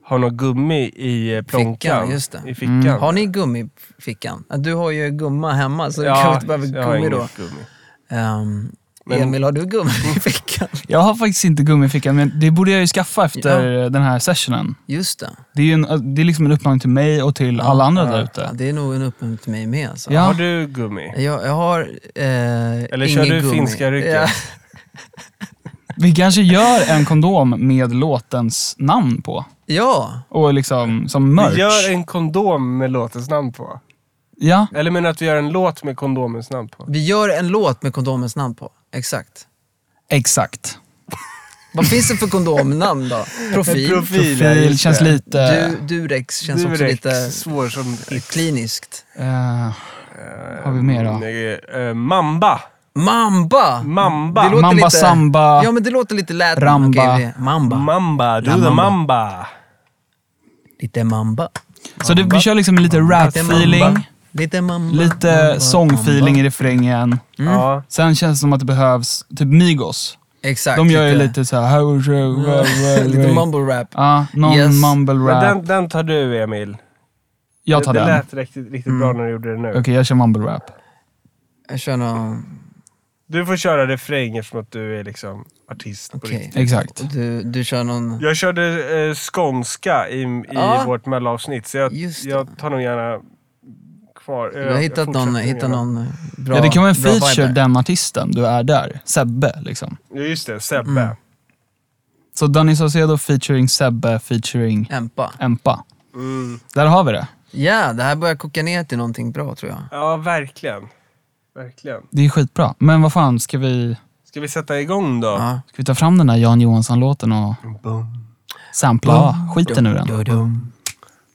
Speaker 2: har något gummi i eh, plånkan.
Speaker 5: Fickan, just det. Mm.
Speaker 2: I fickan.
Speaker 5: Har ni gummifickan? Ja, Du har ju gumma hemma, så du
Speaker 2: Ja,
Speaker 5: kanske inte behöver
Speaker 2: jag har
Speaker 5: gummi då.
Speaker 2: inget gummi.
Speaker 5: Ehm,
Speaker 2: Men-
Speaker 5: Emil, har du gummi i fickan?
Speaker 1: Jag har faktiskt inte gummifickan, men det borde jag ju skaffa efter den här sessionen.
Speaker 5: Just det.
Speaker 1: Det är, ju en, det är liksom en uppmaning till mig och till alla andra där
Speaker 5: Ja,
Speaker 1: ute.
Speaker 5: det är nog en uppmuntran till mig med. Alltså.
Speaker 1: Ja.
Speaker 2: Har du gummi?
Speaker 5: Jag, jag har eh,
Speaker 2: Eller
Speaker 5: ingen
Speaker 2: kör du
Speaker 5: gummi.
Speaker 2: finska rycket?
Speaker 5: Ja.
Speaker 1: Vi kanske gör en kondom med låtens namn på.
Speaker 5: ja.
Speaker 1: Och liksom som merch.
Speaker 2: Vi gör en kondom med låtens namn på.
Speaker 1: Ja,
Speaker 2: Eller menar du att vi gör en låt med kondomens namn på?
Speaker 5: Vi gör en låt med kondomens namn på. Exakt.
Speaker 1: exakt.
Speaker 5: Vad finns det för kondomnamn då? Profil.
Speaker 1: Profil känns lite...
Speaker 5: Du, durex känns också
Speaker 2: Durex,
Speaker 5: lite
Speaker 2: svår som hit.
Speaker 5: kliniskt.
Speaker 1: eh, har vi mer då?
Speaker 2: Eh, eh, Mamba.
Speaker 5: Mamba!
Speaker 2: Mamba.
Speaker 5: Det låter
Speaker 1: Mamba
Speaker 5: lite,
Speaker 1: samba.
Speaker 5: Ja, men det låter lite latin.
Speaker 1: Ramba.
Speaker 5: Okej, det- mamba.
Speaker 2: Mamba, du
Speaker 5: Mamba.
Speaker 2: the mamba.
Speaker 5: lite mamba.
Speaker 1: Så det, vi kör liksom lite
Speaker 5: Lite mamba.
Speaker 1: rap-feeling,
Speaker 5: Lite mamba.
Speaker 1: lite
Speaker 5: mamba,
Speaker 1: sång-feeling i
Speaker 5: mamba.
Speaker 1: refrängen.
Speaker 5: Mm.
Speaker 2: Ja.
Speaker 1: Sen känns det som att det behövs typ Migos.
Speaker 5: Exakt.
Speaker 1: De gör ju lite så här...
Speaker 5: lite mumble rap.
Speaker 1: Ja, någon
Speaker 5: Yes.
Speaker 1: mumble
Speaker 2: Men
Speaker 1: rap.
Speaker 2: den, den tar du Emil.
Speaker 1: jag tar
Speaker 2: det,
Speaker 1: den.
Speaker 2: Det
Speaker 1: Okej,
Speaker 2: lät riktigt, riktigt
Speaker 5: Mm.
Speaker 2: bra när du gjorde det nu.
Speaker 1: jag kör mumble rap.
Speaker 5: Jag kör någon...
Speaker 2: Du får köra refräng eftersom att du är liksom artist på
Speaker 5: Okej.
Speaker 2: riktigt.
Speaker 1: Exakt.
Speaker 5: Du, du kör någon...
Speaker 2: Jag körde eh, skånska i, i
Speaker 5: Ja.
Speaker 2: vårt mellanavsnitt så jag,
Speaker 5: Just det.
Speaker 2: jag tar nog gärna kvar. eh,
Speaker 5: Du har hittat någon, hittat någon bra
Speaker 1: ja, det kan vara en
Speaker 5: bra vibe
Speaker 1: feature,
Speaker 5: där.
Speaker 1: den artisten du är där. Sebbe, liksom.
Speaker 2: Ja, just det. Sebbe.
Speaker 5: Mm.
Speaker 1: Så Danny Saucedo featuring Sebbe featuring
Speaker 5: Empa.
Speaker 1: Empa.
Speaker 2: Mm.
Speaker 1: Där har vi det.
Speaker 5: Ja, det här börjar koka ner till någonting bra tror jag.
Speaker 2: Ja, verkligen. Verkligen.
Speaker 1: Det är skitbra. Men vad fan, ska vi,
Speaker 2: Ska vi sätta igång då?
Speaker 5: Ja.
Speaker 1: ska vi ta fram den här Jan Johansson-låten och sampla skiten ur den?
Speaker 5: Dum,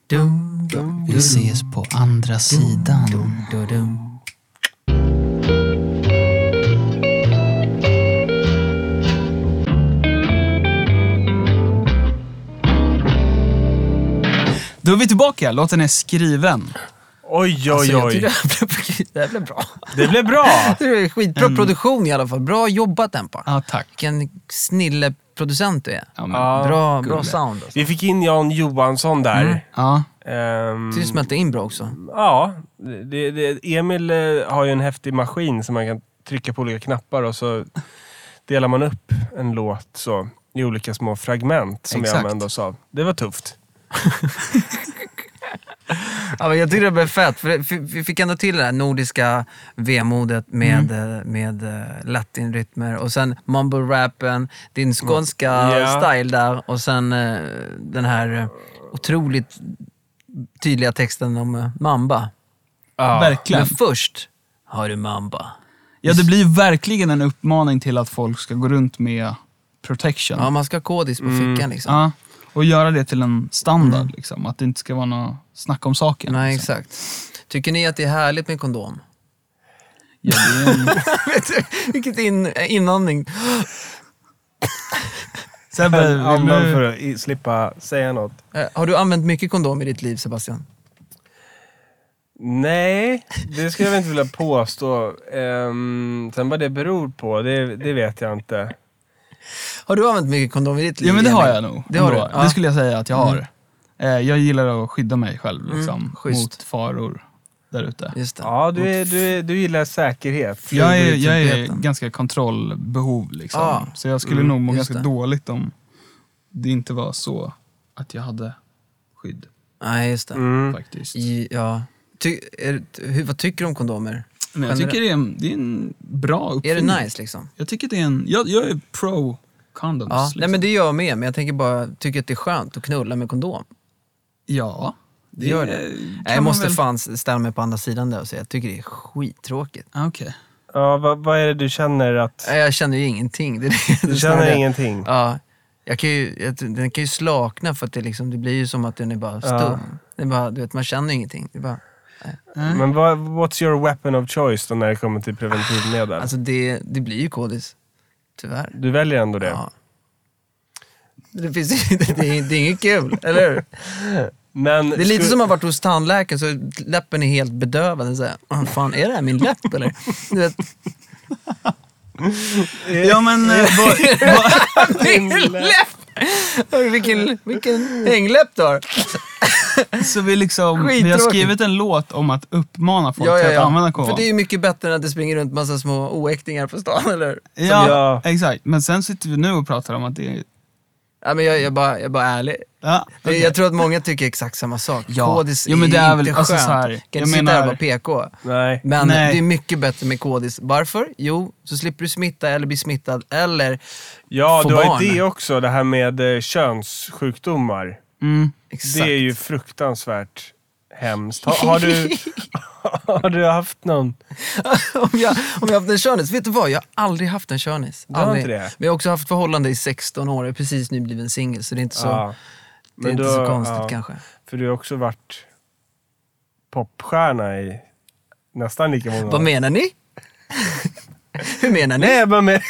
Speaker 5: dum, dum,
Speaker 1: Vi ses på andra sidan.
Speaker 5: dum, dum, dum.
Speaker 1: Då är vi tillbaka. Låten är skriven.
Speaker 2: Oj, oj,
Speaker 5: Alltså, jag
Speaker 2: oj.
Speaker 5: tyckte det, här blev, det här blev bra.
Speaker 2: Det blev bra.
Speaker 5: Det är skitbra produktion i alla fall. Bra jobbat Empa.
Speaker 1: Mm. Ja, tack.
Speaker 5: Vilken snilleproducent du är.
Speaker 1: Ja, men,
Speaker 2: Ja.
Speaker 5: Bra, bra sound. Alltså.
Speaker 2: Vi fick in Jan Johansson där.
Speaker 1: ja.
Speaker 2: Ehm,
Speaker 5: Du smälte in bra också.
Speaker 2: ja, det, det, Emil eh, har ju en häftig maskin som man kan trycka på olika knappar och så delar man upp en låt så, i olika små fragment som vi
Speaker 1: Exakt.
Speaker 2: använde oss av. Det var tufft.
Speaker 5: Ja, men jag tyckte det blev fett, för det- för vi fick ändå till det här nordiska vemodet med, eh, med eh, latinrytmer och sen mumble-rappen, din skånska
Speaker 2: Ja.
Speaker 5: style där och sen eh, den här eh, otroligt tydliga texten om eh, mamba.
Speaker 1: Verkligen.
Speaker 5: Men först har du mamba.
Speaker 1: Ja, det blir ju verkligen en uppmaning till att folk ska gå runt med protection.
Speaker 5: Ja, man ska ha kodis på fickan liksom.
Speaker 1: Ja, och göra det till en standard. Liksom. Att det inte ska vara något snack om saken.
Speaker 5: Mm. Nej,
Speaker 1: liksom.
Speaker 5: exakt. Tycker ni att det är härligt med kondom?
Speaker 1: ja, det är en...
Speaker 5: Vet du, Vilket in, inandning.
Speaker 1: Sebbe, vill
Speaker 2: Använd
Speaker 1: du...
Speaker 2: för att i- slippa säga något.
Speaker 5: Eh, Har du använt mycket kondom i ditt liv, Sebastian?
Speaker 2: Nej, det skulle jag väl inte vilja påstå. Um, sen vad det beror på, det, det vet jag inte.
Speaker 5: Har du använt mycket kondom i ditt liv?
Speaker 1: Ja, men det
Speaker 5: Emil?
Speaker 1: har jag nog.
Speaker 5: Det har du?
Speaker 1: ändå.
Speaker 5: Ja. Mm.
Speaker 1: Det skulle jag säga att jag har. Eh, Jag gillar att skydda mig själv liksom,
Speaker 5: schysst.
Speaker 1: mot faror där ute.
Speaker 5: Just det.
Speaker 2: Ja, du, är, du, är, du gillar säkerhet.
Speaker 1: Jag är, jag är
Speaker 5: flugor i
Speaker 1: ganska kontrollbehov, liksom.
Speaker 5: Ah,
Speaker 1: så jag skulle nog må
Speaker 5: just
Speaker 1: ganska
Speaker 5: det.
Speaker 1: dåligt om det inte var så att jag hade skydd.
Speaker 5: Nej, just det.
Speaker 2: Mm.
Speaker 1: faktiskt.
Speaker 5: I, ja. Ty, är, hur, vad tycker du om kondomer?
Speaker 1: Men jag
Speaker 5: Generellt.
Speaker 1: tycker det är en, det är en bra
Speaker 5: Är
Speaker 1: uppfinning.
Speaker 5: det nice liksom?
Speaker 1: Jag tycker det är en... Jag, jag är pro condoms.
Speaker 5: Ja.
Speaker 1: liksom.
Speaker 5: Nej, men det gör jag med, men jag tänker bara, tycker att det är skönt att knulla med kondom?
Speaker 1: ja, det
Speaker 5: Gör det.
Speaker 1: kan
Speaker 5: Nej, jag
Speaker 1: man
Speaker 5: måste
Speaker 1: väl-
Speaker 5: fan ställa mig på andra sidan där och säga, jag tycker det är skittråkigt.
Speaker 1: Ah, Okej.
Speaker 2: Ja, vad, vad är det du känner att...
Speaker 5: Nej, jag känner ju ingenting. Det, är det,
Speaker 2: Du
Speaker 5: snarare det.
Speaker 2: känner ingenting?
Speaker 5: Ja. Jag kan ju, jag, den kan ju slakna för att det, liksom, det blir ju som att den är bara stum.
Speaker 2: Ja.
Speaker 5: Det är bara, du vet, man känner ju ingenting. Det är bara,
Speaker 2: Men vad, what's your weapon of choice då när det kommer till preventivmedel?
Speaker 5: alltså det, det blir ju kodis. Tyvärr.
Speaker 2: du väljer ändå det?
Speaker 5: Ja. Det, finns, det, det, är- det är inget kul, eller hur?
Speaker 2: Men
Speaker 5: Det är lite
Speaker 2: sku-
Speaker 5: som att ha varit hos tandläkaren så läppen är helt bedövad. Så här, "Åh, fan, är det här min läpp eller? Du vet,
Speaker 1: Ja, men... eh, vad-
Speaker 5: min läpp! Hörru, Vilken, vilken hängläpp du har.
Speaker 1: så vi, liksom, vi har
Speaker 5: Skittråkigt.
Speaker 1: skrivit en låt om att uppmana folk
Speaker 5: Ja, ja,
Speaker 1: till att använda
Speaker 5: ja.
Speaker 1: kondom.
Speaker 5: För det är ju mycket bättre än att det springer runt massa små oäktingar på stan, eller hur?
Speaker 1: ja,
Speaker 2: Ja.
Speaker 1: exakt. Men sen sitter vi nu och pratar om att det är...
Speaker 5: Ja, men jag, jag, är bara, jag är bara ärlig.
Speaker 1: Ja,
Speaker 5: Det-
Speaker 1: okej.
Speaker 5: Jag tror att många tycker exakt samma sak.
Speaker 1: Ja.
Speaker 5: Kodis
Speaker 1: Jo, men det är
Speaker 5: är
Speaker 1: väl-
Speaker 5: inte
Speaker 1: alltså,
Speaker 5: skönt.
Speaker 1: så här,
Speaker 5: kan
Speaker 1: jag
Speaker 5: inte sitta här
Speaker 1: menar-
Speaker 5: och vara PK.
Speaker 2: Nej.
Speaker 5: Men
Speaker 1: Nej.
Speaker 5: det är mycket bättre med kodis. Varför? Jo, så slipper du smitta eller bli smittad eller
Speaker 2: Ja,
Speaker 5: få
Speaker 2: du har
Speaker 5: barn.
Speaker 2: ju det också, det här med eh, könssjukdomar.
Speaker 1: Mm.
Speaker 5: Exakt.
Speaker 2: Det är ju fruktansvärt hemskt. Har, har, du, har du haft någon?
Speaker 5: om, jag, om jag haft en körnis, vet du vad? Jag har aldrig haft en körnis.
Speaker 2: Du har inte
Speaker 5: Aldrig.
Speaker 2: det?
Speaker 5: Men jag har också haft förhållande i 16 år. Jag är precis nybliven singel, så det är inte så,
Speaker 2: Ja.
Speaker 5: det är
Speaker 2: Men
Speaker 5: inte
Speaker 2: du
Speaker 5: så
Speaker 2: har-
Speaker 5: konstigt
Speaker 2: ja.
Speaker 5: kanske.
Speaker 2: För du har också varit popstjärna i nästan lika många
Speaker 5: Vad
Speaker 2: år.
Speaker 5: menar ni? Hur menar ni?
Speaker 2: Nej, jag bara menar,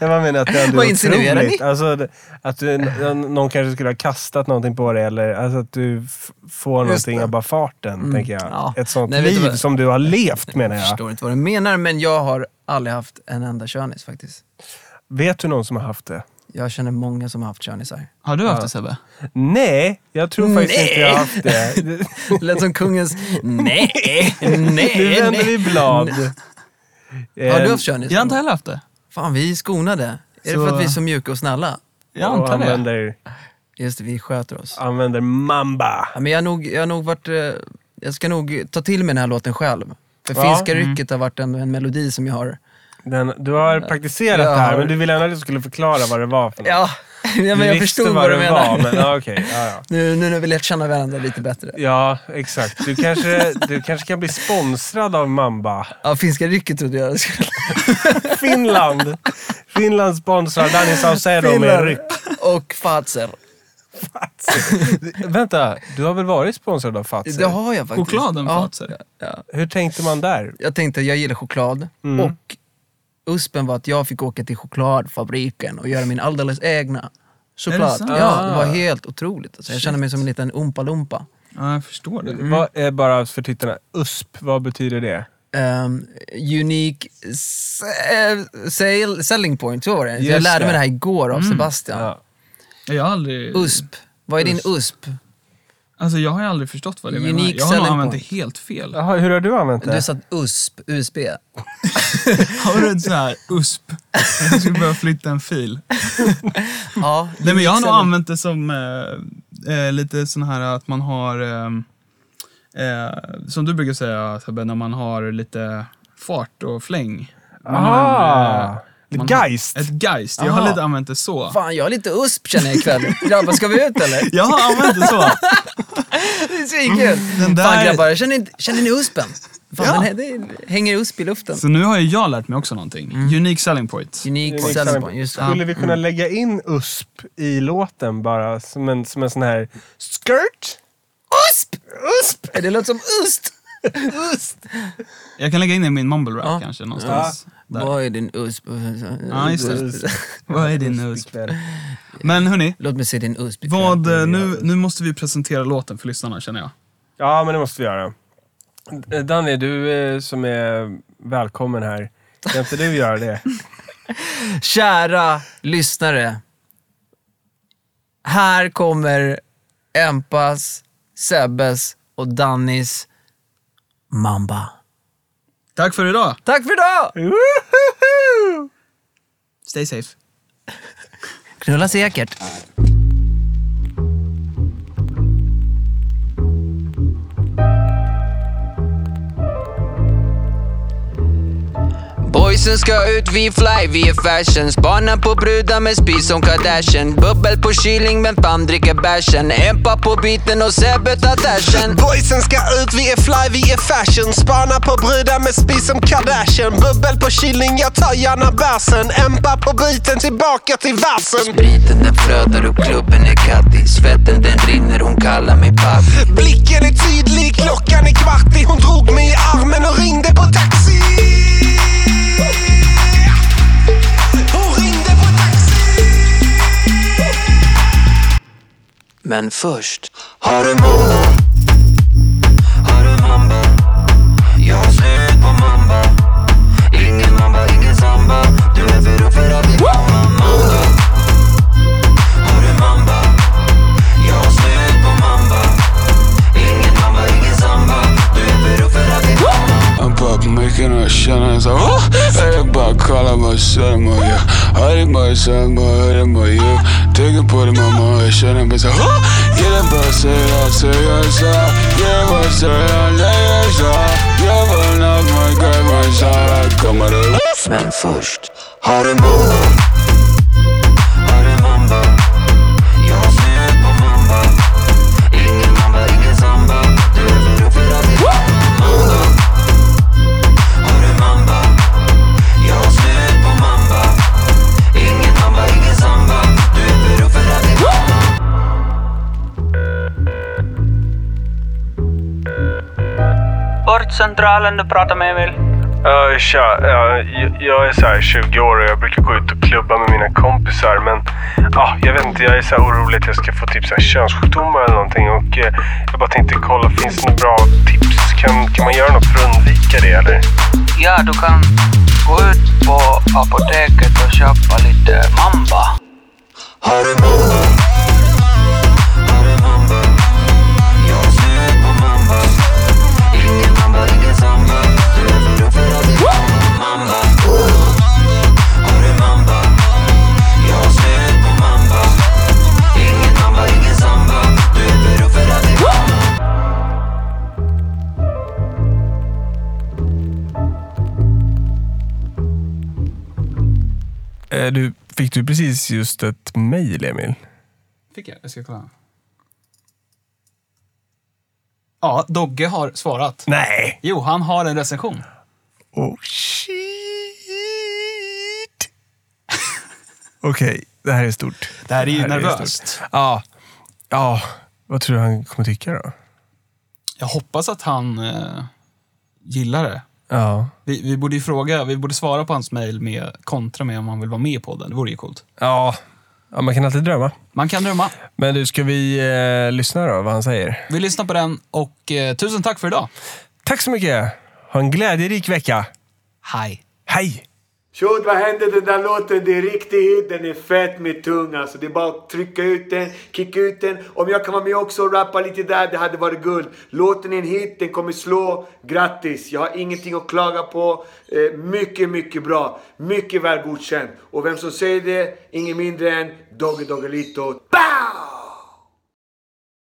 Speaker 2: jag bara menar att det är
Speaker 5: Vad insinuerar
Speaker 2: otroligt.
Speaker 5: ni?
Speaker 2: Alltså, det- att du, n- någon kanske skulle ha kastat någonting på dig eller alltså att du f- får någonting av bara farten, tänker jag.
Speaker 5: Mm. ja.
Speaker 2: Ett sånt
Speaker 5: Nej, vet du
Speaker 2: liv
Speaker 5: vad?
Speaker 2: som du har levt, menar
Speaker 5: Jag
Speaker 2: jag.
Speaker 5: förstår inte vad du menar, men jag har aldrig haft en enda körnis faktiskt.
Speaker 2: Vet du någon som har haft det?
Speaker 5: Jag känner många som har haft körnisar.
Speaker 1: Har du haft det Sebbe?
Speaker 2: Nej, jag tror faktiskt
Speaker 5: Nej.
Speaker 2: inte jag har haft det.
Speaker 5: Lät som kungens nej, nej,
Speaker 2: Nu vänder vi
Speaker 5: nej.
Speaker 2: blad.
Speaker 5: Har du
Speaker 2: Eh,
Speaker 5: haft körnis?
Speaker 1: Jag har inte heller haft det.
Speaker 5: Fan, vi är skonade. Är
Speaker 1: Så-
Speaker 5: det för att vi är så mjuka och snälla?
Speaker 1: Jag
Speaker 2: och
Speaker 1: antar det.
Speaker 2: använder,
Speaker 5: Just det, vi sköter oss.
Speaker 2: använder mamba.
Speaker 5: Ja, men jag har nog, jag har nog varit... eh, jag ska nog ta till mig den här låten själv. För
Speaker 2: Ja. Mm.
Speaker 5: Finska rycket har varit en, en melodi som jag har...
Speaker 2: Den, du har praktiserat
Speaker 5: Ja.
Speaker 2: det här, men du ville ändå att jag skulle förklara vad det var för något.
Speaker 5: Ja, ja men jag
Speaker 2: visste
Speaker 5: förstod vad du
Speaker 2: det
Speaker 5: menar.
Speaker 2: Var, men, ja, okej. ja, ja.
Speaker 5: Nu, nu när vi lärt känna varandra lite bättre.
Speaker 2: ja, exakt. Du kanske, du kanske kan bli sponsrad av Mamba.
Speaker 5: Ja, Finska rycket trodde jag skulle...
Speaker 2: Finland! Finland sponsrar Danny Saucedo med
Speaker 5: Finland.
Speaker 2: ryck.
Speaker 5: Och Fazer.
Speaker 2: Vänta, du har väl varit sponsrad av Fazer?
Speaker 5: Det har jag faktiskt.
Speaker 1: Chokladen
Speaker 5: ja,
Speaker 1: Fazer.
Speaker 2: Hur tänkte man där?
Speaker 5: Jag tänkte att jag gillar choklad.
Speaker 1: Mm.
Speaker 5: Och USPen var att jag fick åka till chokladfabriken och göra min alldeles egna choklad.
Speaker 1: sant?
Speaker 5: Ja, det var helt otroligt. Alltså, jag kände mig som en liten umpa-lumpa.
Speaker 1: Ja, jag förstår det.
Speaker 5: Mm.
Speaker 2: Vad är bara för tittarna, USP, vad betyder det?
Speaker 5: Ehm, unique s- eh, sale, selling point, så var det. jag
Speaker 2: Just
Speaker 5: lärde
Speaker 2: det.
Speaker 5: mig det här igår
Speaker 1: Mm.
Speaker 5: av Sebastian.
Speaker 2: Ja.
Speaker 1: Jag har aldrig...
Speaker 5: USP. Vad är din USP?
Speaker 1: Alltså, jag har ju aldrig förstått vad det
Speaker 5: Unique
Speaker 1: menar. Jag har nog
Speaker 5: selling
Speaker 1: använt det
Speaker 5: point.
Speaker 1: helt fel.
Speaker 2: Jaha, hur har du använt det?
Speaker 5: Du sa USP, USB.
Speaker 1: Har du en sån här USP? Jag skulle behöva flytta en fil.
Speaker 5: Ja,
Speaker 1: Nej, men jag har nog
Speaker 5: unique selling-
Speaker 1: använt det som eh, eh, lite sån här att man har, ehm, eh, som du brukar säga Sebbe, när man har lite fart och fläng. Man har en, eh,
Speaker 2: Ah,
Speaker 1: man har-
Speaker 2: Geist!
Speaker 1: ett geist. Jag har
Speaker 5: Aha.
Speaker 1: lite använt det så.
Speaker 5: Ah. Fan, jag har lite USP känner jag ikväll. Grabbar, ska vi ut eller?
Speaker 1: Jag har använt det så.
Speaker 5: Det är svinkul.
Speaker 1: Mm, Den där-
Speaker 5: Fan grabbar, känner ni, känner ni USPen? Fan,
Speaker 1: Ja.
Speaker 5: den, här- det hänger USP i luften.
Speaker 1: Så nu har ju jag lärt mig också någonting.
Speaker 5: Mm.
Speaker 1: Unique selling point.
Speaker 5: Unique,
Speaker 2: Unique
Speaker 5: selling
Speaker 2: selling
Speaker 5: point, just det.
Speaker 2: liksom- Skulle vi
Speaker 1: Mm.
Speaker 2: kunna lägga in USP i låten bara som en, som en sån här skirt?
Speaker 5: USP! USP! Det låter som UST. UST.
Speaker 1: Jag kan lägga in det i min mumble rap
Speaker 5: Ja.
Speaker 1: kanske någonstans. Där.
Speaker 5: Vad är din USP?
Speaker 1: Ja, just det. Vad är din USP? Men hörni,
Speaker 5: Låt mig se din USP.
Speaker 1: vad, eh, nu, nu måste vi presentera låten för lyssnarna känner jag.
Speaker 2: Ja, men det måste vi göra. Eh, Danny, du eh, som är välkommen här. Kan inte du göra det?
Speaker 5: Kära lyssnare. Här kommer Empas, Sebbes och Dannys Mamba.
Speaker 1: Tack för idag!
Speaker 5: Tack för idag!
Speaker 1: Stay safe.
Speaker 5: Knulla säkert.
Speaker 8: Boysen ska ut, vi fly, vi är fashion Spana på brudar med spis som Kardashian Bubbel på kyling, men fan dricker bärsen Empa på biten och Sebbe tar dashen
Speaker 9: Boysen ska ut, vi är fly, vi är fashion Spana på brudar med spis som Kardashian Bubbel på chilling, jag tar gärna bärsen Empa på biten, tillbaka till versen
Speaker 8: Spriten den flödar och klubben är kattig Svetten den rinner, hon kallar mig pappi
Speaker 9: Blicken är tydlig, klockan är kvart i Hon drog mig i armen och ringde på taxi Hon ringde på taxi
Speaker 8: Men först
Speaker 9: Har du mamba? Har du mamba? Jag har slut på mamba Ingen mamba, ingen samba Du är för ung för att bli mamma Mamba Har du mamba? Jag har slut på mamba Ingen mamba, ingen samba Du är för ung för att bli mamma
Speaker 10: I'm pop making her shine and it's like oh Everybody calling my son my yeah Hiding my son my hiding my yeah Taking put in my mind shining but it's like oh Yeah that boy say I say I say Yeah what say I say I say Yeah but not my guy my side Come out of
Speaker 8: Men först
Speaker 9: Har du mamba? Har du mamba? Jag har slut på mamba Ingen mamba, ingen samba Du är för ung för att bli mamba Har du mamba? Jag har slut på mamba Ingen mamba, ingen samba Du är för ung för att bli mamma
Speaker 11: Vårdcentralen, du pratar med Emil.
Speaker 2: Uh, tja, eh, jag- jag är så här 20 år och jag brukar gå ut och klubba med mina kompisar. Men ja, jag vet inte, jag är så här orolig att jag ska få typ så här könssjukdomar eller någonting. Och eh, jag bara tänkte kolla, finns det några bra tips? Kan, kan man göra något för att undvika det eller?
Speaker 11: Ja, du kan gå ut på apoteket och köpa lite mamba.
Speaker 9: Har du mamba? Har du mamba? Jag har slut på mamba Ingen mamba, ingen samba Du är för ung för att bli mamma Har du mamba? Jag har slut på mamba Ingen mamba, ingen samba Du är för ung för att bli mamma
Speaker 2: Eh, Du, fick du precis just ett mejl, Emil?
Speaker 1: Fick jag? Jag ska kolla. Ja, Dogge har svarat.
Speaker 2: Nej!
Speaker 1: Jo, han har en recension.
Speaker 2: Oh shit! Okej, det här är stort.
Speaker 1: Det här är ju nervöst.
Speaker 2: stort. Ja. ja, vad tror du han kommer tycka då?
Speaker 1: Jag hoppas att han eh, gillar det.
Speaker 2: Ja.
Speaker 1: Vi, vi borde ju fråga, vi borde svara på hans mejl med kontra med om han vill vara med på den. Det vore ju coolt.
Speaker 2: Ja. ja, man kan alltid drömma.
Speaker 1: Man kan drömma.
Speaker 2: Men du, ska vi eh, lyssna då vad han säger?
Speaker 1: Vi lyssnar på den och eh, tusen tack för idag.
Speaker 2: Tack så mycket! Ha en glädjerik vecka!
Speaker 1: Hej.
Speaker 2: Hej!
Speaker 11: Shoot, vad hände? Den där låten, det är riktig hit. Den är fett med tung alltså. Det är bara att trycka ut den, kicka ut den. Om jag kan vara med också och rappa lite där, det hade varit guld. Låten är en hit, den kommer slå. Grattis! Jag har ingenting att klaga på. Eh, mycket, mycket bra. Mycket väl godkänd. Och vem som säger det, ingen mindre än Dogge Doggelito. Bam!